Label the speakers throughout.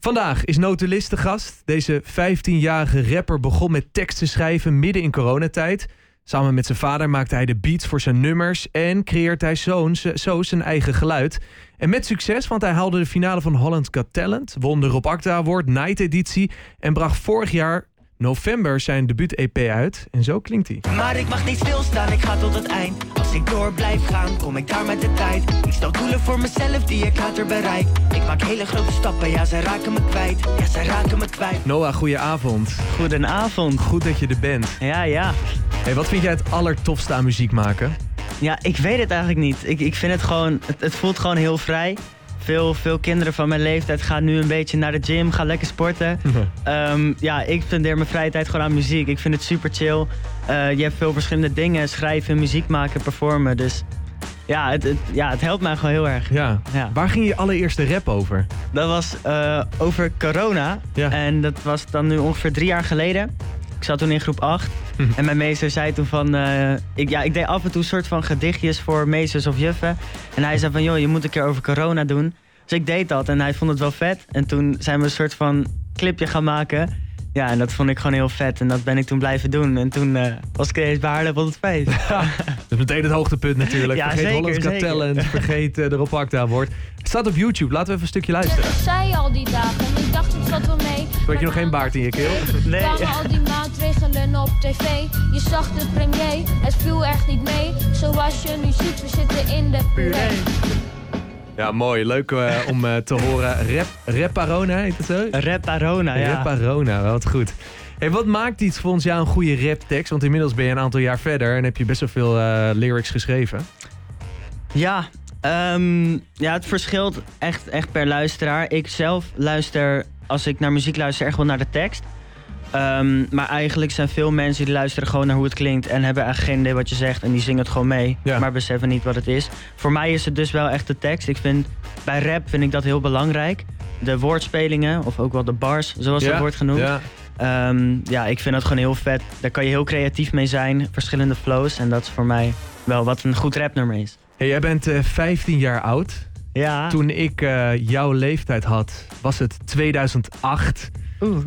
Speaker 1: Vandaag is Notulist de gast. Deze 15-jarige rapper begon met tekst te schrijven midden in coronatijd. Samen met zijn vader maakte hij de beats voor zijn nummers en creëert hij zo, zo zijn eigen geluid. En met succes, want hij haalde de finale van Holland Got Talent, won de Rob Acta Award Night Editie en bracht vorig jaar november zijn debuut-EP uit. En zo klinkt hij.
Speaker 2: Maar ik mag niet stilstaan, ik ga tot het eind. Als ik door blijf gaan, kom ik daar met de tijd. Ik stel doelen voor mezelf die ik later bereik. Ik maak hele grote stappen, ja, zij raken me kwijt. Ja, zij raken me kwijt.
Speaker 1: Noah, goedenavond.
Speaker 3: Goedenavond.
Speaker 1: Goed dat je er bent.
Speaker 3: Ja, ja.
Speaker 1: Hey, wat vind jij het allertofste aan muziek maken?
Speaker 3: Ja, ik weet het eigenlijk niet. Ik, ik vind het gewoon, het, het voelt gewoon heel vrij. Veel, veel kinderen van mijn leeftijd gaan nu een beetje naar de gym, gaan lekker sporten. Ehm, ja, ik spendeer mijn vrije tijd gewoon aan muziek. Ik vind het super chill. Eh, je hebt veel verschillende dingen, schrijven, muziek maken, performen. Dus ja, het, het- ja, het helpt mij gewoon heel erg.
Speaker 1: Ja.
Speaker 3: Ja.
Speaker 1: Waar ging je allereerste rap over?
Speaker 3: Dat was eh, over corona.
Speaker 1: Ja.
Speaker 3: En dat was dan nu ongeveer drie jaar geleden. Ik zat toen in groep 8.
Speaker 1: Hm.
Speaker 3: En mijn meester zei toen van... eh, ik, ja, ik deed af en toe soort van gedichtjes voor meesters of juffen. En hij zei van, joh, je moet een keer over corona doen. Dus ik deed dat en hij vond het wel vet. En toen zijn we een soort van clipje gaan maken. Ja, en dat vond ik gewoon heel vet. En dat ben ik toen blijven doen. En toen eh, was ik ineens bij Haarlem op het feest.
Speaker 1: Dat is meteen het hoogtepunt natuurlijk.
Speaker 3: Ja,
Speaker 1: vergeet
Speaker 3: zeker,
Speaker 1: Holland Got
Speaker 3: zeker.
Speaker 1: Talent, vergeet eh, de Rob Acta wordt. Het staat op YouTube, laten we even een stukje luisteren.
Speaker 4: Dat zei al die dagen en ik dacht ik zat wel mee.
Speaker 1: Weet je nog geen baard in je keel?
Speaker 3: Nee.
Speaker 4: Kwamen al die maatregelen op tv. Je zag de premier, het viel echt niet mee. Zoals je nu ziet, we zitten in de puree.
Speaker 1: Ja, mooi. Leuk eh, om eh, te horen. Rap, Rapparona heet het zo?
Speaker 3: Rap Arona, ja.
Speaker 1: Rapparona, wat goed. Hey, wat maakt iets voor ons jou een goede raptekst? Want inmiddels ben je een aantal jaar verder en heb je best wel veel eh, lyrics geschreven.
Speaker 3: Ja, ehm, ja het verschilt echt, echt per luisteraar. Ik zelf luister, als ik naar muziek luister, echt wel naar de tekst. Ehm, maar eigenlijk zijn veel mensen die luisteren gewoon naar hoe het klinkt en hebben eigenlijk geen idee wat je zegt en die zingen het gewoon mee,
Speaker 1: Ja.
Speaker 3: maar beseffen niet wat het is. Voor mij is het dus wel echt de tekst. Ik vind, bij rap vind ik dat heel belangrijk. De woordspelingen, of ook wel de bars, zoals dat wordt genoemd.
Speaker 1: Ja.
Speaker 3: Ehm, ja, ik vind dat gewoon heel vet. Daar kan je heel creatief mee zijn, verschillende flows. En dat is voor mij wel wat een goed rapnummer is.
Speaker 1: Hey, jij bent eh, 15 jaar oud.
Speaker 3: Ja.
Speaker 1: Toen ik eh, jouw leeftijd had, was het 2008.
Speaker 3: Oeh.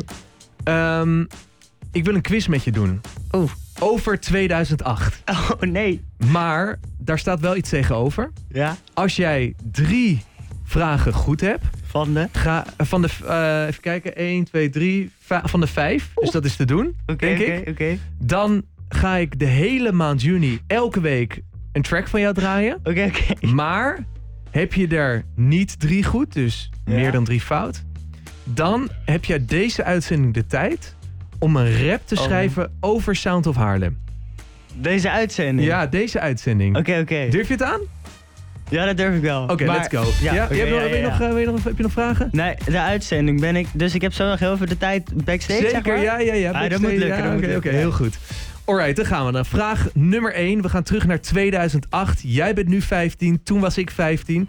Speaker 1: Ehm, ik wil een quiz met je doen.
Speaker 3: Oeh.
Speaker 1: Over 2008.
Speaker 3: Oh nee.
Speaker 1: Maar daar staat wel iets tegenover.
Speaker 3: Ja.
Speaker 1: Als jij drie vragen goed hebt,
Speaker 3: Van de.
Speaker 1: ga eh, van de. v- eh, even kijken, 1, 2, 3. Van de vijf. Dus dat is te doen, denk ik.
Speaker 3: oké.
Speaker 1: Dan ga ik de hele maand juni elke week een track van jou draaien.
Speaker 3: Oké, oké.
Speaker 1: Maar heb je er niet drie goed, dus
Speaker 3: Ja.
Speaker 1: meer dan drie fout, dan heb jij deze uitzending de tijd om een rap te
Speaker 3: Oh.
Speaker 1: schrijven over Sound of Haarlem.
Speaker 3: Deze uitzending.
Speaker 1: Ja, deze uitzending.
Speaker 3: Oké, oké.
Speaker 1: Durf je het aan?
Speaker 3: Ja, dat durf ik wel.
Speaker 1: Oké,
Speaker 3: Maar-
Speaker 1: let's go. Ja,
Speaker 3: Ja,
Speaker 1: je
Speaker 3: oké,
Speaker 1: hebt nog-
Speaker 3: ja,
Speaker 1: wil je
Speaker 3: ja,
Speaker 1: nog,
Speaker 3: ja.
Speaker 1: eh, wil je nog- Heb je nog vragen?
Speaker 3: Nee, de uitzending ben ik. Dus ik heb zo nog heel veel de tijd backstage. zeg maar.
Speaker 1: ja, ja, ja.
Speaker 3: Ah, dat
Speaker 1: backstage,
Speaker 3: moet lukken,
Speaker 1: ja,
Speaker 3: dat moet
Speaker 1: Oké, oké,
Speaker 3: lukken, ja.
Speaker 1: heel goed. Alright, dan gaan we dan. Vraag nummer 1. We gaan terug naar 2008. Jij bent nu 15, toen was ik 15.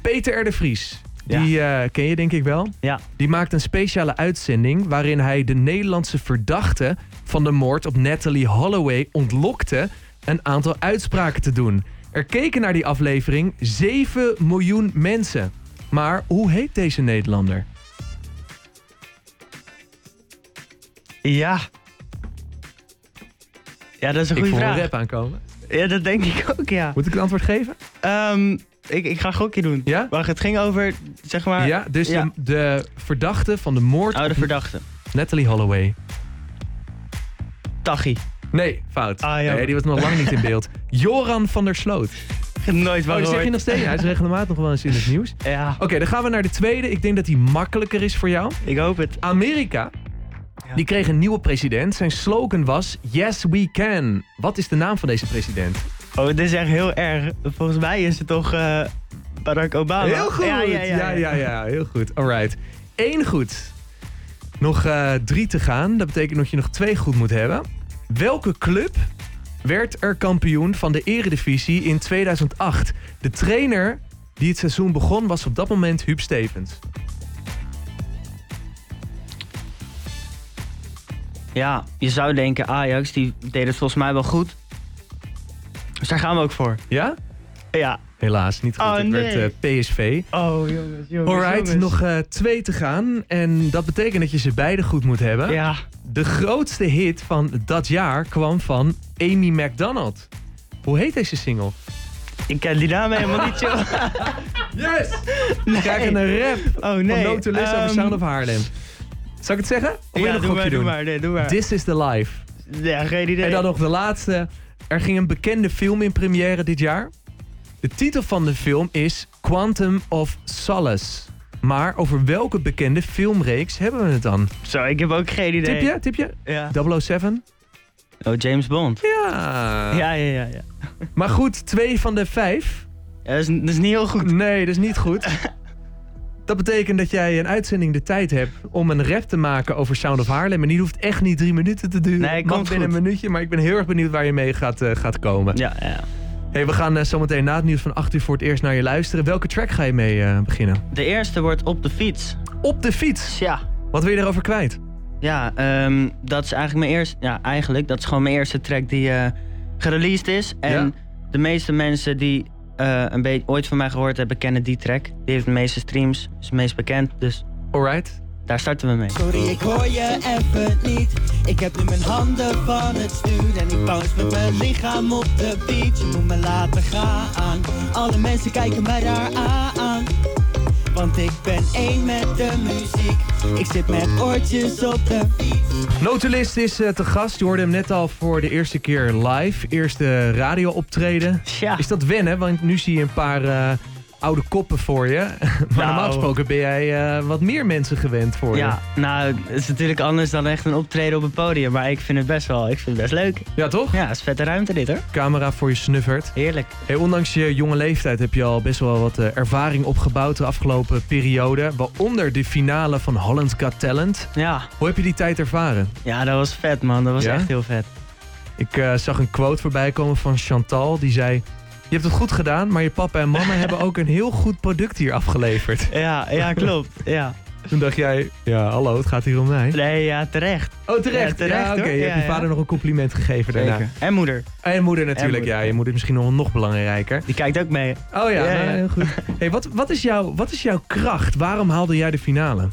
Speaker 1: Peter R. de Vries,
Speaker 3: Ja.
Speaker 1: die eh, ken je denk ik wel.
Speaker 3: Ja.
Speaker 1: Die maakt een speciale uitzending waarin hij de Nederlandse verdachte van de moord op Natalie Holloway ontlokte een aantal uitspraken te doen. Er keken naar die aflevering 7 miljoen mensen. Maar hoe heet deze Nederlander?
Speaker 3: Ja. Ja, dat is een
Speaker 1: Ik
Speaker 3: goede
Speaker 1: voel
Speaker 3: vraag.
Speaker 1: een rap aankomen.
Speaker 3: Ja, dat denk ik ook, ja.
Speaker 1: Moet ik het antwoord geven?
Speaker 3: Ehm, ik, ik ga een gokje doen.
Speaker 1: Ja?
Speaker 3: Wacht, het ging over, zeg maar.
Speaker 1: ja, dus
Speaker 3: ja. Oh,
Speaker 1: De, de verdachte van de moord
Speaker 3: Oude
Speaker 1: op
Speaker 3: verdachte.
Speaker 1: Natalie Holloway.
Speaker 3: Taggie.
Speaker 1: Nee, fout.
Speaker 3: Ah, ja.
Speaker 1: nee, die was nog lang niet in beeld. Joran van der Sloot.
Speaker 3: Nooit
Speaker 1: Oh,
Speaker 3: van
Speaker 1: die zeg je
Speaker 3: gehoord.
Speaker 1: nog steeds. Hij is regelmatig nog wel eens in het nieuws. Oké,
Speaker 3: Ja,
Speaker 1: dan gaan we naar de tweede. Ik denk dat die makkelijker is voor jou.
Speaker 3: ik hoop het.
Speaker 1: Amerika,
Speaker 3: Ja.
Speaker 1: die kreeg een nieuwe president. Zijn slogan was Yes, we can. Wat is de naam van deze president?
Speaker 3: Oh, dit is echt heel erg. Volgens mij is het toch eh, Barack Obama.
Speaker 1: Heel goed. Ja, ja, ja, ja, heel goed. All right. Eén goed. Nog eh, drie te gaan. Dat betekent dat je nog twee goed moet hebben. Welke club werd er kampioen van de Eredivisie in 2008? De trainer die het seizoen begon was op dat moment Huub Stevens.
Speaker 3: Ja, je zou denken Ajax, die deed het volgens mij wel goed. Dus daar gaan we ook voor.
Speaker 1: Ja?
Speaker 3: Ja.
Speaker 1: Helaas, niet goed.
Speaker 3: Oh,
Speaker 1: het werd
Speaker 3: nee.
Speaker 1: eh, PSV.
Speaker 3: Oh, jongens, jongens.
Speaker 1: Alright,
Speaker 3: jongens.
Speaker 1: nog eh, twee te gaan. En dat betekent dat je ze beide goed moet hebben.
Speaker 3: Ja.
Speaker 1: De grootste hit van dat jaar kwam van Amy McDonald. Hoe heet deze single?
Speaker 3: Ik ken die naam helemaal niet, joh.
Speaker 1: Yes! We krijgen een rap
Speaker 3: Oh, nee.
Speaker 1: van Notulus over
Speaker 3: Ehm,
Speaker 1: Sound of Haarlem. Zal ik het zeggen? Of wil je
Speaker 3: Ja,
Speaker 1: nog een
Speaker 3: doe
Speaker 1: gokje
Speaker 3: maar, doe
Speaker 1: doen?
Speaker 3: maar. Nee, doe maar.
Speaker 1: This is the life.
Speaker 3: Ja, geen idee.
Speaker 1: En dan nog de laatste. Er ging een bekende film in première dit jaar. De titel van de film is Quantum of Solace. Maar over welke bekende filmreeks hebben we het dan?
Speaker 3: Zo, ik heb ook geen idee.
Speaker 1: Tip je? Tip je?
Speaker 3: Ja.
Speaker 1: 007?
Speaker 3: Oh, James Bond.
Speaker 1: Ja.
Speaker 3: Ja, ja, ja. ja.
Speaker 1: Maar goed, twee van de vijf.
Speaker 3: Ja, dat, is, dat is niet heel goed.
Speaker 1: Nee, dat is niet goed. Dat betekent dat jij een uitzending de tijd hebt om een rap te maken over Sound of Haarlem. En die hoeft echt niet drie minuten te duren.
Speaker 3: Nee,
Speaker 1: Mag
Speaker 3: komt
Speaker 1: binnen
Speaker 3: goed.
Speaker 1: een minuutje, maar ik ben heel erg benieuwd waar je mee gaat, eh, gaat komen.
Speaker 3: Ja, ja.
Speaker 1: Hey, we gaan eh, zometeen na het nieuws van 8 uur voor het eerst naar je luisteren. Welke track ga je mee eh, beginnen?
Speaker 3: De eerste wordt op de fiets.
Speaker 1: Op de fiets.
Speaker 3: Ja.
Speaker 1: Wat wil je daarover kwijt?
Speaker 3: Ja, ehm, dat is eigenlijk mijn eerste. Ja, eigenlijk. Dat is gewoon mijn eerste track die eh, gereleased is. En
Speaker 1: Ja.
Speaker 3: de meeste mensen die eh, een beetje ooit van mij gehoord hebben, kennen die track. Die heeft de meeste streams, is het meest bekend. Dus
Speaker 1: Alright.
Speaker 3: daar starten we mee.
Speaker 2: Sorry, ik hoor je even niet. Ik heb nu mijn handen van het stuur en ik bounce met mijn lichaam op de beat. Je moet me laten gaan. Alle mensen kijken mij raar aan. Want ik ben één met de muziek. Ik zit met oortjes op de fiets.
Speaker 1: Notulist is eh, te gast. Je hoorde hem net al voor de eerste keer live. Eerste radio optreden.
Speaker 3: Ja.
Speaker 1: Is dat wennen? Want nu zie je een paar eh, oude koppen voor je. maar normaal
Speaker 3: Nou.
Speaker 1: gesproken ben jij eh, wat meer mensen gewend voor
Speaker 3: Ja, nou, het is natuurlijk anders dan echt een optreden op een podium. Maar ik vind het best wel, ik vind het best leuk.
Speaker 1: je. Ja, toch?
Speaker 3: Ja, het is vette ruimte dit hoor.
Speaker 1: Camera voor je snuffert.
Speaker 3: Heerlijk.
Speaker 1: Hey, ondanks je jonge leeftijd heb je al best wel wat eh, ervaring opgebouwd de afgelopen periode. Waaronder de finale van Holland's Got Talent.
Speaker 3: Ja,
Speaker 1: Hoe heb je die tijd ervaren?
Speaker 3: ja dat was vet man, dat was
Speaker 1: Ja?
Speaker 3: echt heel vet.
Speaker 1: Ik eh, zag een quote voorbij komen van Chantal. Die zei: Je hebt het goed gedaan, maar je papa en mama hebben ook een heel goed product hier afgeleverd.
Speaker 3: Ja, ja klopt. Ja.
Speaker 1: Toen dacht jij: Ja, hallo, het gaat hier om mij.
Speaker 3: Nee, ja, terecht.
Speaker 1: Oh, terecht.
Speaker 3: Ja, terecht,
Speaker 1: Ja, Oké,
Speaker 3: hoor.
Speaker 1: je
Speaker 3: Ja,
Speaker 1: hebt je
Speaker 3: ja.
Speaker 1: vader nog een compliment gegeven daarna.
Speaker 3: En moeder,
Speaker 1: En moeder natuurlijk.
Speaker 3: En moeder.
Speaker 1: Ja, je moeder is misschien nog, nog belangrijker.
Speaker 3: die kijkt ook mee.
Speaker 1: Oh ja,
Speaker 3: Ja,
Speaker 1: nou,
Speaker 3: ja.
Speaker 1: heel goed. Hey, wat, wat, is jouw, wat is jouw kracht? Waarom haalde jij de finale?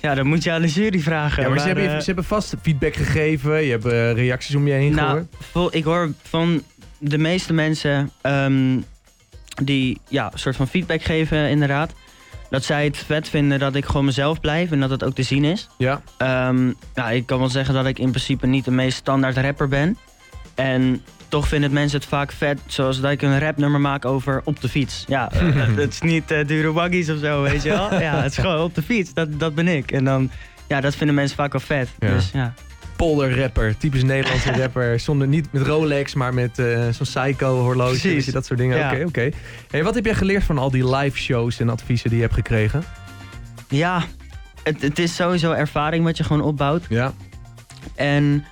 Speaker 3: Ja, dan moet je aan de jury vragen.
Speaker 1: Ja, maar ze, hebben, je-
Speaker 3: eh,
Speaker 1: ze hebben vast feedback gegeven. Je hebt eh, reacties om je heen
Speaker 3: nou,
Speaker 1: gehoord.
Speaker 3: vol- ik hoor van de meeste mensen ehm, die ja, een soort van feedback geven, inderdaad. Dat zij het vet vinden dat ik gewoon mezelf blijf en dat het ook te zien is.
Speaker 1: Ja.
Speaker 3: Ehm, nou, ik kan wel zeggen dat ik in principe niet de meest standaard rapper ben. En toch vinden mensen het vaak vet, zoals dat ik een rapnummer maak over op de fiets. Ja, eh, het is niet eh, dure waggies of zo, weet je wel. Ja, het is gewoon op de fiets, dat, dat ben ik. En dan, ja, dat vinden mensen vaak wel vet.
Speaker 1: Ja.
Speaker 3: Dus ja.
Speaker 1: polderrapper. Typisch Nederlandse rapper. Zonder niet met Rolex, maar met eh, zo'n psycho horloge.
Speaker 3: Precies.
Speaker 1: weet je, Dat soort dingen. Oké,
Speaker 3: Ja.
Speaker 1: oké. Hey, wat heb jij geleerd van al die live shows en adviezen die je hebt gekregen?
Speaker 3: Ja, het, het is sowieso ervaring wat je gewoon opbouwt.
Speaker 1: Ja.
Speaker 3: En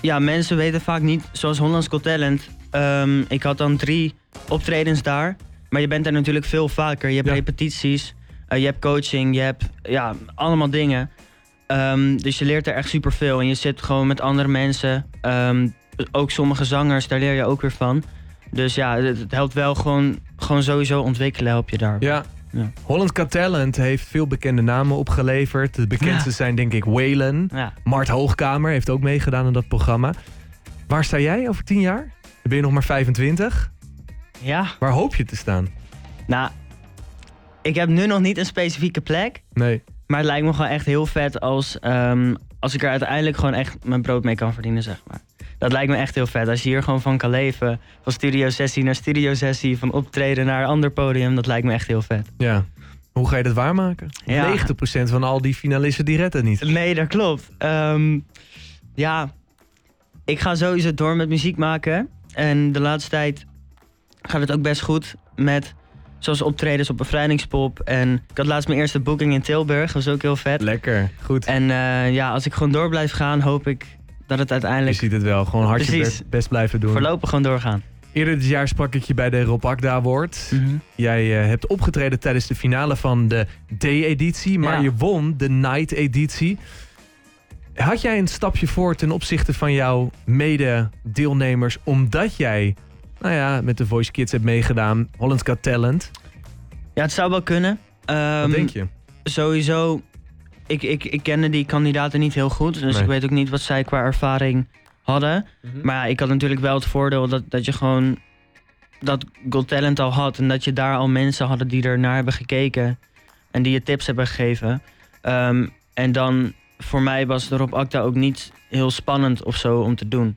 Speaker 3: ja, mensen weten vaak niet, zoals Hollands Got Talent. ehm, ik had dan drie optredens daar. Maar je bent daar natuurlijk veel vaker. Je hebt
Speaker 1: Ja.
Speaker 3: repetities, eh, je hebt coaching, je hebt ja, allemaal dingen. Ehm, dus je leert er echt superveel. En je zit gewoon met andere mensen. Ehm, ook sommige zangers, daar leer je ook weer van. Dus ja, het, het helpt wel gewoon, gewoon sowieso ontwikkelen help je daar.
Speaker 1: ja.
Speaker 3: Ja.
Speaker 1: Holland Got Talent heeft veel bekende namen opgeleverd. De bekendste zijn denk ik Waylon.
Speaker 3: Ja.
Speaker 1: Mart Hoogkamer heeft ook meegedaan aan dat programma. Waar sta jij over tien jaar? Dan ben je nog maar 25.
Speaker 3: ja.
Speaker 1: Waar hoop je te staan?
Speaker 3: Nou, ik heb nu nog niet een specifieke plek.
Speaker 1: Nee.
Speaker 3: Maar het lijkt me gewoon echt heel vet als, ehm, als ik er uiteindelijk gewoon echt mijn brood mee kan verdienen, zeg maar. Dat lijkt me echt heel vet. Als je hier gewoon van kan leven. Van studiosessie naar studiosessie. Van optreden naar een ander podium. Dat lijkt me echt heel vet.
Speaker 1: Ja. Hoe ga je dat waarmaken?
Speaker 3: Ja.
Speaker 1: 90% van al die finalisten die redt het niet.
Speaker 3: Nee, dat klopt. Ehm, ja, ik ga sowieso door met muziek maken. En de laatste tijd gaat het ook best goed met... Zoals optredens op bevrijdingspop. En ik had laatst mijn eerste booking in Tilburg. Dat was ook heel vet.
Speaker 1: Lekker. Goed.
Speaker 3: En eh, ja, als ik gewoon door blijf gaan, hoop ik dat het
Speaker 1: Je
Speaker 3: uiteindelijk
Speaker 1: ziet het wel, gewoon hard je
Speaker 3: Precies.
Speaker 1: best, best blijven doen.
Speaker 3: voorlopig gewoon doorgaan.
Speaker 1: Eerder dit jaar sprak ik je bij de Rob Akda Award.
Speaker 3: Hm.
Speaker 1: Jij eh, hebt opgetreden tijdens de finale van de D-editie, maar
Speaker 3: Ja.
Speaker 1: je won de Night-editie. Had jij een stapje voor ten opzichte van jouw mede-deelnemers omdat jij nou ja, met de Voice Kids hebt meegedaan. Holland Got Talent.
Speaker 3: Ja, het zou wel kunnen.
Speaker 1: Wat
Speaker 3: Ehm,
Speaker 1: denk je?
Speaker 3: Sowieso, ik, ik, ik kende die kandidaten niet heel goed. Dus
Speaker 1: Nee.
Speaker 3: ik weet ook niet wat zij qua ervaring hadden. Maar ja, ik had natuurlijk wel het voordeel dat, dat je gewoon dat Got Talent al had. En dat je daar al mensen hadden die er naar hebben gekeken. En die je tips hebben gegeven. Ehm, en dan voor mij was er op Acta ook niet heel spannend of zo om te doen.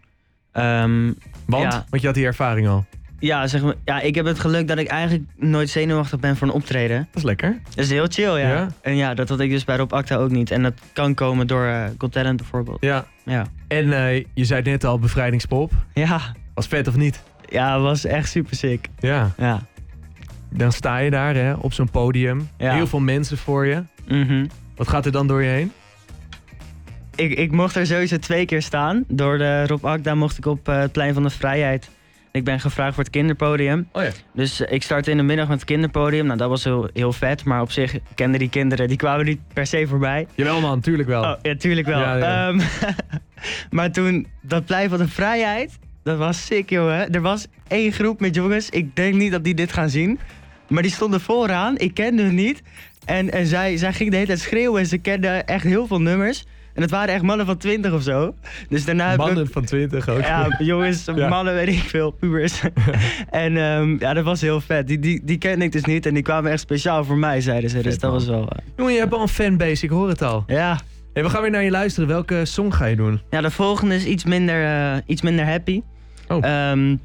Speaker 3: Ehm,
Speaker 1: Want?
Speaker 3: ja.
Speaker 1: Want je had die ervaring al.
Speaker 3: ja, zeg maar, ja, ik heb het geluk dat ik eigenlijk nooit zenuwachtig ben voor een optreden.
Speaker 1: Dat is lekker.
Speaker 3: Dat is heel chill, ja.
Speaker 1: Ja?
Speaker 3: En ja, dat had ik dus bij Rob Acta ook niet. En dat kan komen door eh God Talent bijvoorbeeld.
Speaker 1: Ja.
Speaker 3: Ja.
Speaker 1: En eh, je zei net al, bevrijdingspop.
Speaker 3: Ja,
Speaker 1: Was vet of niet?
Speaker 3: ja was echt super sick.
Speaker 1: Ja.
Speaker 3: Ja.
Speaker 1: Dan sta je daar hè, op zo'n podium.
Speaker 3: Ja.
Speaker 1: Heel veel mensen voor je.
Speaker 3: Mhm.
Speaker 1: Wat gaat er dan door je heen?
Speaker 3: ik, ik mocht er sowieso twee keer staan. Door de Rob Acta mocht ik op eh, het Plein van de Vrijheid. Ik ben gevraagd voor het kinderpodium.
Speaker 1: Oh ja.
Speaker 3: Dus eh, ik startte in de middag met het kinderpodium. Nou, dat was heel, heel vet. Maar op zich kenden die kinderen, die kwamen niet per se voorbij.
Speaker 1: Jawel man, tuurlijk wel.
Speaker 3: Oh, ja, tuurlijk wel.
Speaker 1: Ja, ja.
Speaker 3: Ehm, maar toen, dat plein van de vrijheid, dat was sick, jongen. Er was één groep met jongens, ik denk niet dat die dit gaan zien. Maar die stonden vooraan, ik kende hun niet. En, en zij, zij ging de hele tijd schreeuwen en ze kenden echt heel veel nummers. En het waren echt mannen van 20 of zo. Dus daarna heb ik...
Speaker 1: Mannen van 20 ook.
Speaker 3: Ja, jongens,
Speaker 1: Ja.
Speaker 3: mannen weet ik veel, pubers. en ehm, ja, dat was heel vet. Die, die, die kende ik dus niet en die kwamen echt speciaal voor mij, zeiden ze. Dus
Speaker 1: Vet,
Speaker 3: dat
Speaker 1: man.
Speaker 3: was wel... eh,
Speaker 1: Jongen, je hebt al een fanbase, ik hoor het al.
Speaker 3: ja,
Speaker 1: Hey, we gaan weer naar je luisteren. Welke song ga je doen?
Speaker 3: Ja, de volgende is iets minder, eh, iets minder happy.
Speaker 1: Oh.
Speaker 3: Ehm,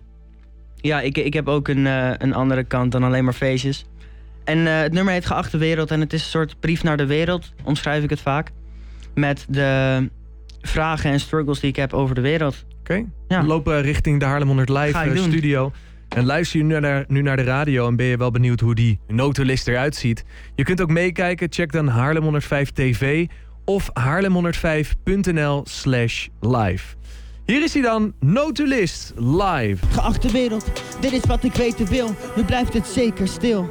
Speaker 3: ja, ik, ik heb ook een, eh, een andere kant dan alleen maar feestjes. En eh, het nummer heet Geachte Wereld en het is een soort brief naar de wereld, omschrijf ik het vaak. Met de vragen en struggles die ik heb over de wereld.
Speaker 1: Oké.
Speaker 3: Ja.
Speaker 1: We lopen richting de Haarlem 100 Live
Speaker 3: Ga ik
Speaker 1: eh,
Speaker 3: doen.
Speaker 1: studio. En luister je nu naar, nu naar de radio en ben je wel benieuwd hoe die notenlist eruit ziet. Je kunt ook meekijken. Check dan Haarlem 105 TV of haarlem105.nl slash live. Hier is hij dan, notenlist live.
Speaker 2: Geachte wereld, dit is wat ik weten wil. Nu blijft het zeker stil.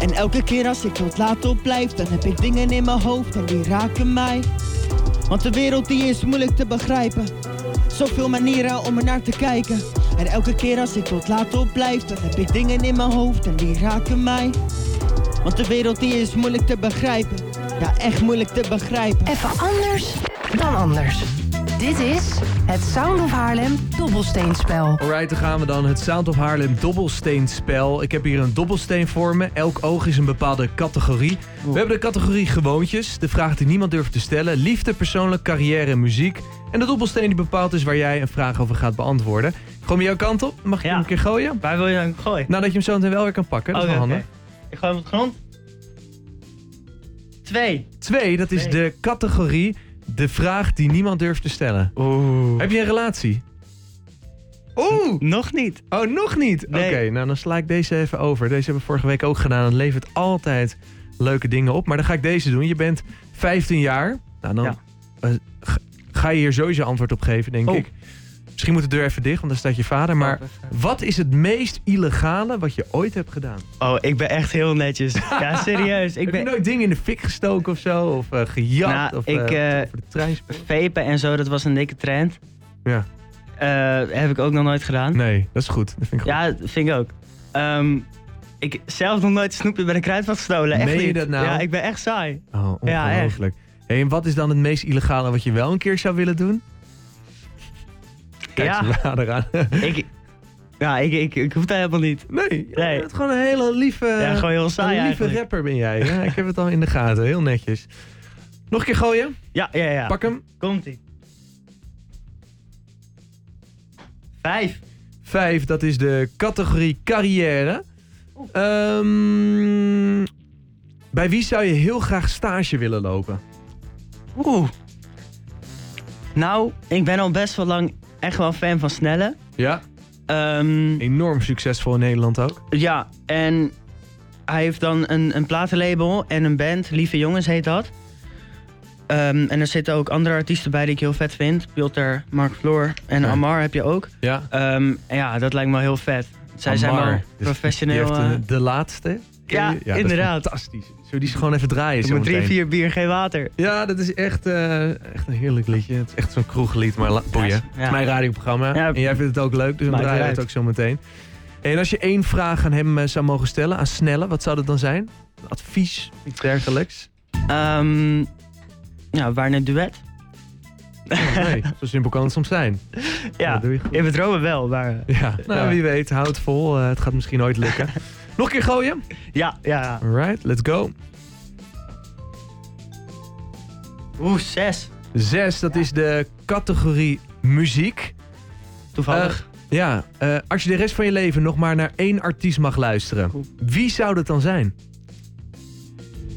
Speaker 2: En elke keer als ik tot laat op blijf, dan heb ik dingen in mijn hoofd en die raken mij. Want de wereld die is moeilijk te begrijpen. Zoveel manieren om er naar te kijken. En elke keer als ik tot laat op blijf, dan heb ik dingen in mijn hoofd en die raken mij. Want de wereld die is moeilijk te begrijpen. Ja, echt moeilijk te begrijpen.
Speaker 5: Even anders dan anders. Dit is het Sound of Haarlem dobbelsteenspel.
Speaker 1: Alright, dan gaan we dan. Het Sound of Haarlem dobbelsteenspel. Ik heb hier een dobbelsteen voor me. Elk oog is een bepaalde categorie. We hebben de categorie gewoontjes. De vraag die niemand durft te stellen. Liefde, persoonlijk, carrière en muziek. En de dobbelsteen die bepaald is waar jij een vraag over gaat beantwoorden. Gewoon jouw kant op. Mag ik
Speaker 3: Ja.
Speaker 1: hem een keer gooien?
Speaker 3: Waar wil je dan gooien?
Speaker 1: Nadat je hem zo meteen wel weer kan pakken. Dat is
Speaker 3: Oké,
Speaker 1: wel
Speaker 3: Oh, oké.
Speaker 1: handig.
Speaker 3: Ik gooi hem op de grond. Twee.
Speaker 1: Twee, dat is
Speaker 3: Nee.
Speaker 1: de categorie... De vraag die niemand durft te stellen.
Speaker 3: Oeh.
Speaker 1: Heb je een relatie? Oeh!
Speaker 3: Nog niet.
Speaker 1: Oh, nog niet?
Speaker 3: Nee.
Speaker 1: Oké, nou dan sla ik deze even over. Deze hebben we vorige week ook gedaan. Het levert altijd leuke dingen op. Maar dan ga ik deze doen. Je bent 15 jaar. Nou, dan
Speaker 3: Ja.
Speaker 1: eh, ga- ga je hier sowieso antwoord op geven, denk
Speaker 3: Oh.
Speaker 1: ik. Misschien moet de deur even dicht, want dan staat je vader. Maar wat is het meest illegale wat je ooit hebt gedaan?
Speaker 3: Oh, ik ben echt heel netjes. Ja, serieus. Ik
Speaker 1: Heb
Speaker 3: ben
Speaker 1: je nooit dingen in de fik gestoken of zo? Of eh gejat?
Speaker 3: Nou,
Speaker 1: of
Speaker 3: ik,
Speaker 1: eh,
Speaker 3: eh,
Speaker 1: voor de trein? sp-
Speaker 3: Vapen en zo, dat was een dikke trend.
Speaker 1: Ja.
Speaker 3: Eh, heb ik ook nog nooit gedaan.
Speaker 1: Nee, dat is goed. Dat vind ik goed.
Speaker 3: Ja, dat vind ik ook. Ehm, ik zelf nog nooit een snoepje bij de kruidvat gestolen. Echt
Speaker 1: Meen je
Speaker 3: niet.
Speaker 1: dat nou?
Speaker 3: Ja, ik ben echt saai.
Speaker 1: Oh,
Speaker 3: Ja, echt.
Speaker 1: ongelooflijk. Hey, en wat is dan het meest illegale wat je wel een keer zou willen doen? Kijk
Speaker 3: Ja.
Speaker 1: zijn vader aan.
Speaker 3: Ik, ja, ik, ik, ik hoef dat helemaal niet.
Speaker 1: Nee, je
Speaker 3: Nee.
Speaker 1: bent gewoon een hele lieve,
Speaker 3: Ja, gewoon heel
Speaker 1: Eh, een
Speaker 3: saai
Speaker 1: lieve
Speaker 3: eigenlijk.
Speaker 1: rapper ben jij. Ja, ik heb het al in de gaten, heel netjes. Nog een keer gooien,
Speaker 3: Ja, ja, ja.
Speaker 1: pak hem.
Speaker 3: Komt-ie. Vijf.
Speaker 1: Vijf, dat is de categorie carrière. Ehm, bij wie zou je heel graag stage willen lopen?
Speaker 3: Oeh. Nou, ik ben al best wel lang echt wel fan van snelle.
Speaker 1: Ja,
Speaker 3: Ehm,
Speaker 1: enorm succesvol in Nederland ook.
Speaker 3: Ja, en hij heeft dan een, een platenlabel en een band, Lieve Jongens heet dat. Ehm, en er zitten ook andere artiesten bij die ik heel vet vind. Piotr, Mark Floor en
Speaker 1: Ja.
Speaker 3: Amar heb je ook.
Speaker 1: Ja,
Speaker 3: Ehm, en ja, dat lijkt me wel heel vet. Zij zijn
Speaker 1: Amar.
Speaker 3: wel
Speaker 1: Dus
Speaker 3: professioneel.
Speaker 1: Die heeft
Speaker 3: eh,
Speaker 1: een- de laatste. Ken je-
Speaker 3: Ja,
Speaker 1: dat is
Speaker 3: inderdaad.
Speaker 1: fantastisch. Zullen we die eens gewoon even draaien?
Speaker 3: Ik moet drie,
Speaker 1: zometeen?
Speaker 3: vier bier, geen water.
Speaker 1: Ja, dat is echt, eh, echt een heerlijk liedje. Het is echt zo'n kroeglied, maar la- boeien.
Speaker 3: Ja,
Speaker 1: Het is mijn radioprogramma.
Speaker 3: Ja.
Speaker 1: en jij vindt het ook leuk, dus dan
Speaker 3: Maakt
Speaker 1: draaien we
Speaker 3: niet
Speaker 1: het
Speaker 3: uit.
Speaker 1: ook zo meteen. En als je één vraag aan hem eh, zou mogen stellen, aan Snelle, wat zou dat dan zijn? Een advies, iets dergelijks?
Speaker 3: Ehm ja, waar een duet?
Speaker 1: Oh, nee, zo simpel kan het soms zijn.
Speaker 3: Ja,
Speaker 1: Dat doe je goed.
Speaker 3: in het dromen wel, eh, maar...
Speaker 1: Ja, nou
Speaker 3: Ja.
Speaker 1: wie weet, hou het vol. eh, het gaat misschien ooit lukken. Nog een keer gooien?
Speaker 3: Ja, ja.
Speaker 1: Alright, let's go.
Speaker 3: Oeh, zes.
Speaker 1: Zes, dat is de categorie muziek.
Speaker 3: Toevallig.
Speaker 1: Ja, eh, als je de rest van je leven nog maar naar één artiest mag luisteren, wie zou dat dan zijn?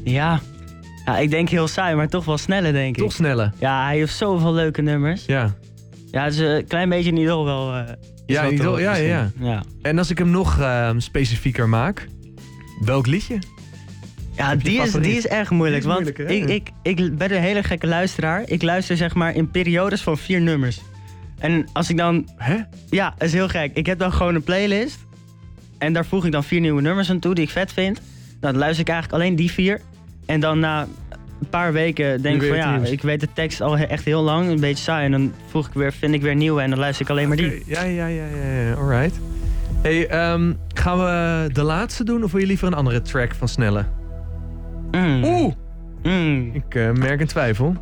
Speaker 3: Ja. ja. Ik denk heel saai, maar toch wel sneller, denk ik.
Speaker 1: Toch sneller.
Speaker 3: Ja, hij heeft zoveel leuke nummers.
Speaker 1: Ja.
Speaker 3: Ja, het is een klein beetje een idool wel. eh, is
Speaker 1: Ja,
Speaker 3: wel
Speaker 1: een
Speaker 3: te
Speaker 1: idool,
Speaker 3: horen
Speaker 1: ja, ja, ja.
Speaker 3: misschien. ja.
Speaker 1: En als ik hem nog eh, specifieker maak, welk liedje?
Speaker 3: Ja,
Speaker 1: Heb je
Speaker 3: die is,
Speaker 1: favoriet?
Speaker 3: die is echt moeilijk.
Speaker 1: Die is
Speaker 3: want
Speaker 1: moeilijk, hè?
Speaker 3: ik, ik, ik ben een hele gekke luisteraar. Ik luister zeg maar in periodes van vier nummers. En als ik dan...
Speaker 1: Hè?
Speaker 3: Ja, dat is heel gek. Ik heb dan gewoon een playlist. En daar voeg ik dan vier nieuwe nummers aan toe die ik vet vind. Nou, dan luister ik eigenlijk alleen die vier. En dan na een paar weken denk
Speaker 1: Nu
Speaker 3: ik van
Speaker 1: weer het
Speaker 3: ja,
Speaker 1: nieuws.
Speaker 3: ik weet de tekst al he- echt heel lang. Een beetje saai. En dan voeg ik weer, vind ik weer nieuwe en dan luister ik alleen maar die.
Speaker 1: Oké, Ja, ja, ja, ja, ja. Alright. Hey, ehm, gaan we de laatste doen of wil je liever een andere track van Snelle?
Speaker 3: Mm,
Speaker 1: Oeh,
Speaker 3: mm.
Speaker 1: ik eh, merk een twijfel.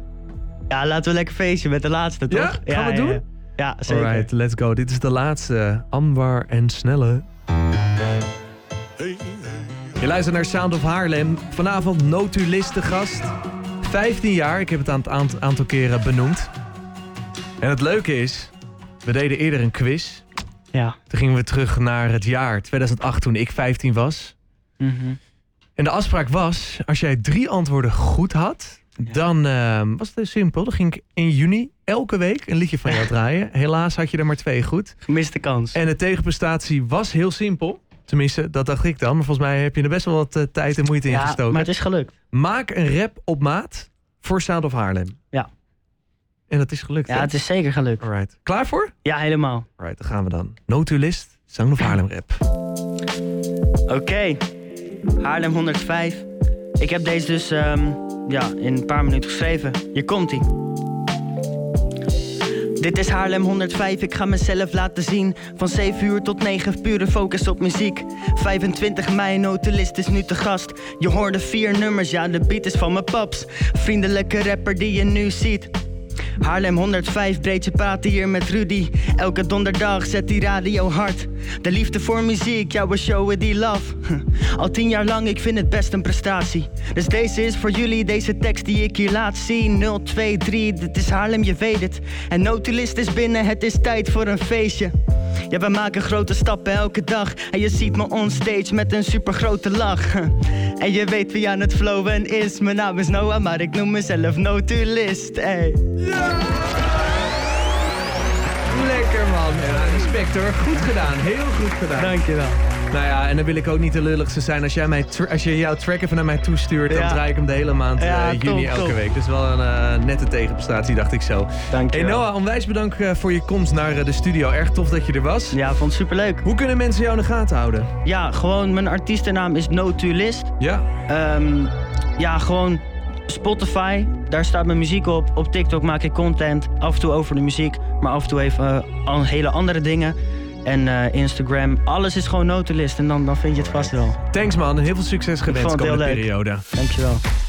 Speaker 3: Ja, laten we lekker feestje met de laatste, toch?
Speaker 1: Ja? Gaan we het doen?
Speaker 3: Ja, Ja, zeker.
Speaker 1: Alright, let's go. Dit is de laatste. Ambar en Snelle. Je luistert naar Sound of Haarlem. Vanavond notuliste gast. 15 jaar, ik heb het aan het aant- aantal keren benoemd. En het leuke is, we deden eerder een quiz.
Speaker 3: Ja.
Speaker 1: Toen gingen we terug naar het jaar 2008 toen ik 15 was.
Speaker 3: Mhm.
Speaker 1: En de afspraak was, als jij drie antwoorden goed had,
Speaker 3: Ja.
Speaker 1: dan ehm, was het heel simpel. Dan ging ik in juni elke week een liedje van jou draaien. Helaas had je er maar twee goed.
Speaker 3: Gemiste kans.
Speaker 1: En de tegenprestatie was heel simpel. Tenminste, dat dacht ik dan. Maar volgens mij heb je er best wel wat eh, tijd en moeite in gestoken.
Speaker 3: maar het is gelukt.
Speaker 1: Maak een rap op maat voor Sound of Haarlem.
Speaker 3: Ja.
Speaker 1: En dat is gelukt.
Speaker 3: Ja,
Speaker 1: hè?
Speaker 3: het is zeker gelukt.
Speaker 1: Alright. Klaar voor?
Speaker 3: Ja, helemaal.
Speaker 1: Alright, dan gaan we dan. Notulist, Sound of Haarlem rap.
Speaker 3: Oké. Haarlem 105. Ik heb deze dus ehm, ja, in een paar minuten geschreven. Hier komt ie. Dit is Haarlem 105, ik ga mezelf laten zien. Van 7 uur tot 9, pure focus op muziek. 25 mei, Notulist is nu te gast. Je hoorde vier nummers, ja, de beat is van mijn paps. Vriendelijke rapper die je nu ziet. Haarlem 105, breedje praten hier met Rudy. Elke donderdag zet die radio hard. De liefde voor muziek, jouw showen die love. Al tien jaar lang, ik vind het best een prestatie. Dus deze is voor jullie, deze tekst die ik hier laat zien. 023, dit is Haarlem, je weet het. En Notulist is binnen, het is tijd voor een feestje. Ja, wij maken grote stappen elke dag. En je ziet me onstage met een supergrote lach. En je weet wie aan het flowen is. Mijn naam is Noah, maar ik noem mezelf Notulist. Ey.
Speaker 1: Lekker man. Ja, respect hoor. Goed gedaan. Heel goed gedaan.
Speaker 3: Dankjewel.
Speaker 1: Nou ja, en dan wil ik ook niet de lulligste zijn. Als jij, mij tr- als je jouw track even naar mij toestuurt, dan
Speaker 3: Ja.
Speaker 1: draai ik hem de hele maand eh,
Speaker 3: Ja,
Speaker 1: juni
Speaker 3: top,
Speaker 1: elke
Speaker 3: top.
Speaker 1: week. Dus wel een eh, nette tegenprestatie, dacht ik zo. Hey
Speaker 3: Dankjewel.
Speaker 1: Noah, onwijs bedankt eh, voor je komst naar eh, de studio. Erg tof dat je er was.
Speaker 3: Ja, vond het superleuk.
Speaker 1: Hoe kunnen mensen jou in de gaten houden?
Speaker 3: Ja, gewoon mijn artiestennaam is Notulist.
Speaker 1: Ja.
Speaker 3: Ehm, ja, gewoon Spotify. Daar staat mijn muziek op. Op TikTok maak ik content. Af en toe over de muziek, maar af en toe even eh, al hele andere dingen. En eh, Instagram. Alles is gewoon Notulist. En dan, dan vind je het vast wel.
Speaker 1: Thanks man, heel veel succes gewenst
Speaker 3: vond
Speaker 1: de
Speaker 3: het heel
Speaker 1: komende
Speaker 3: leuk.
Speaker 1: periode.
Speaker 3: Dankjewel.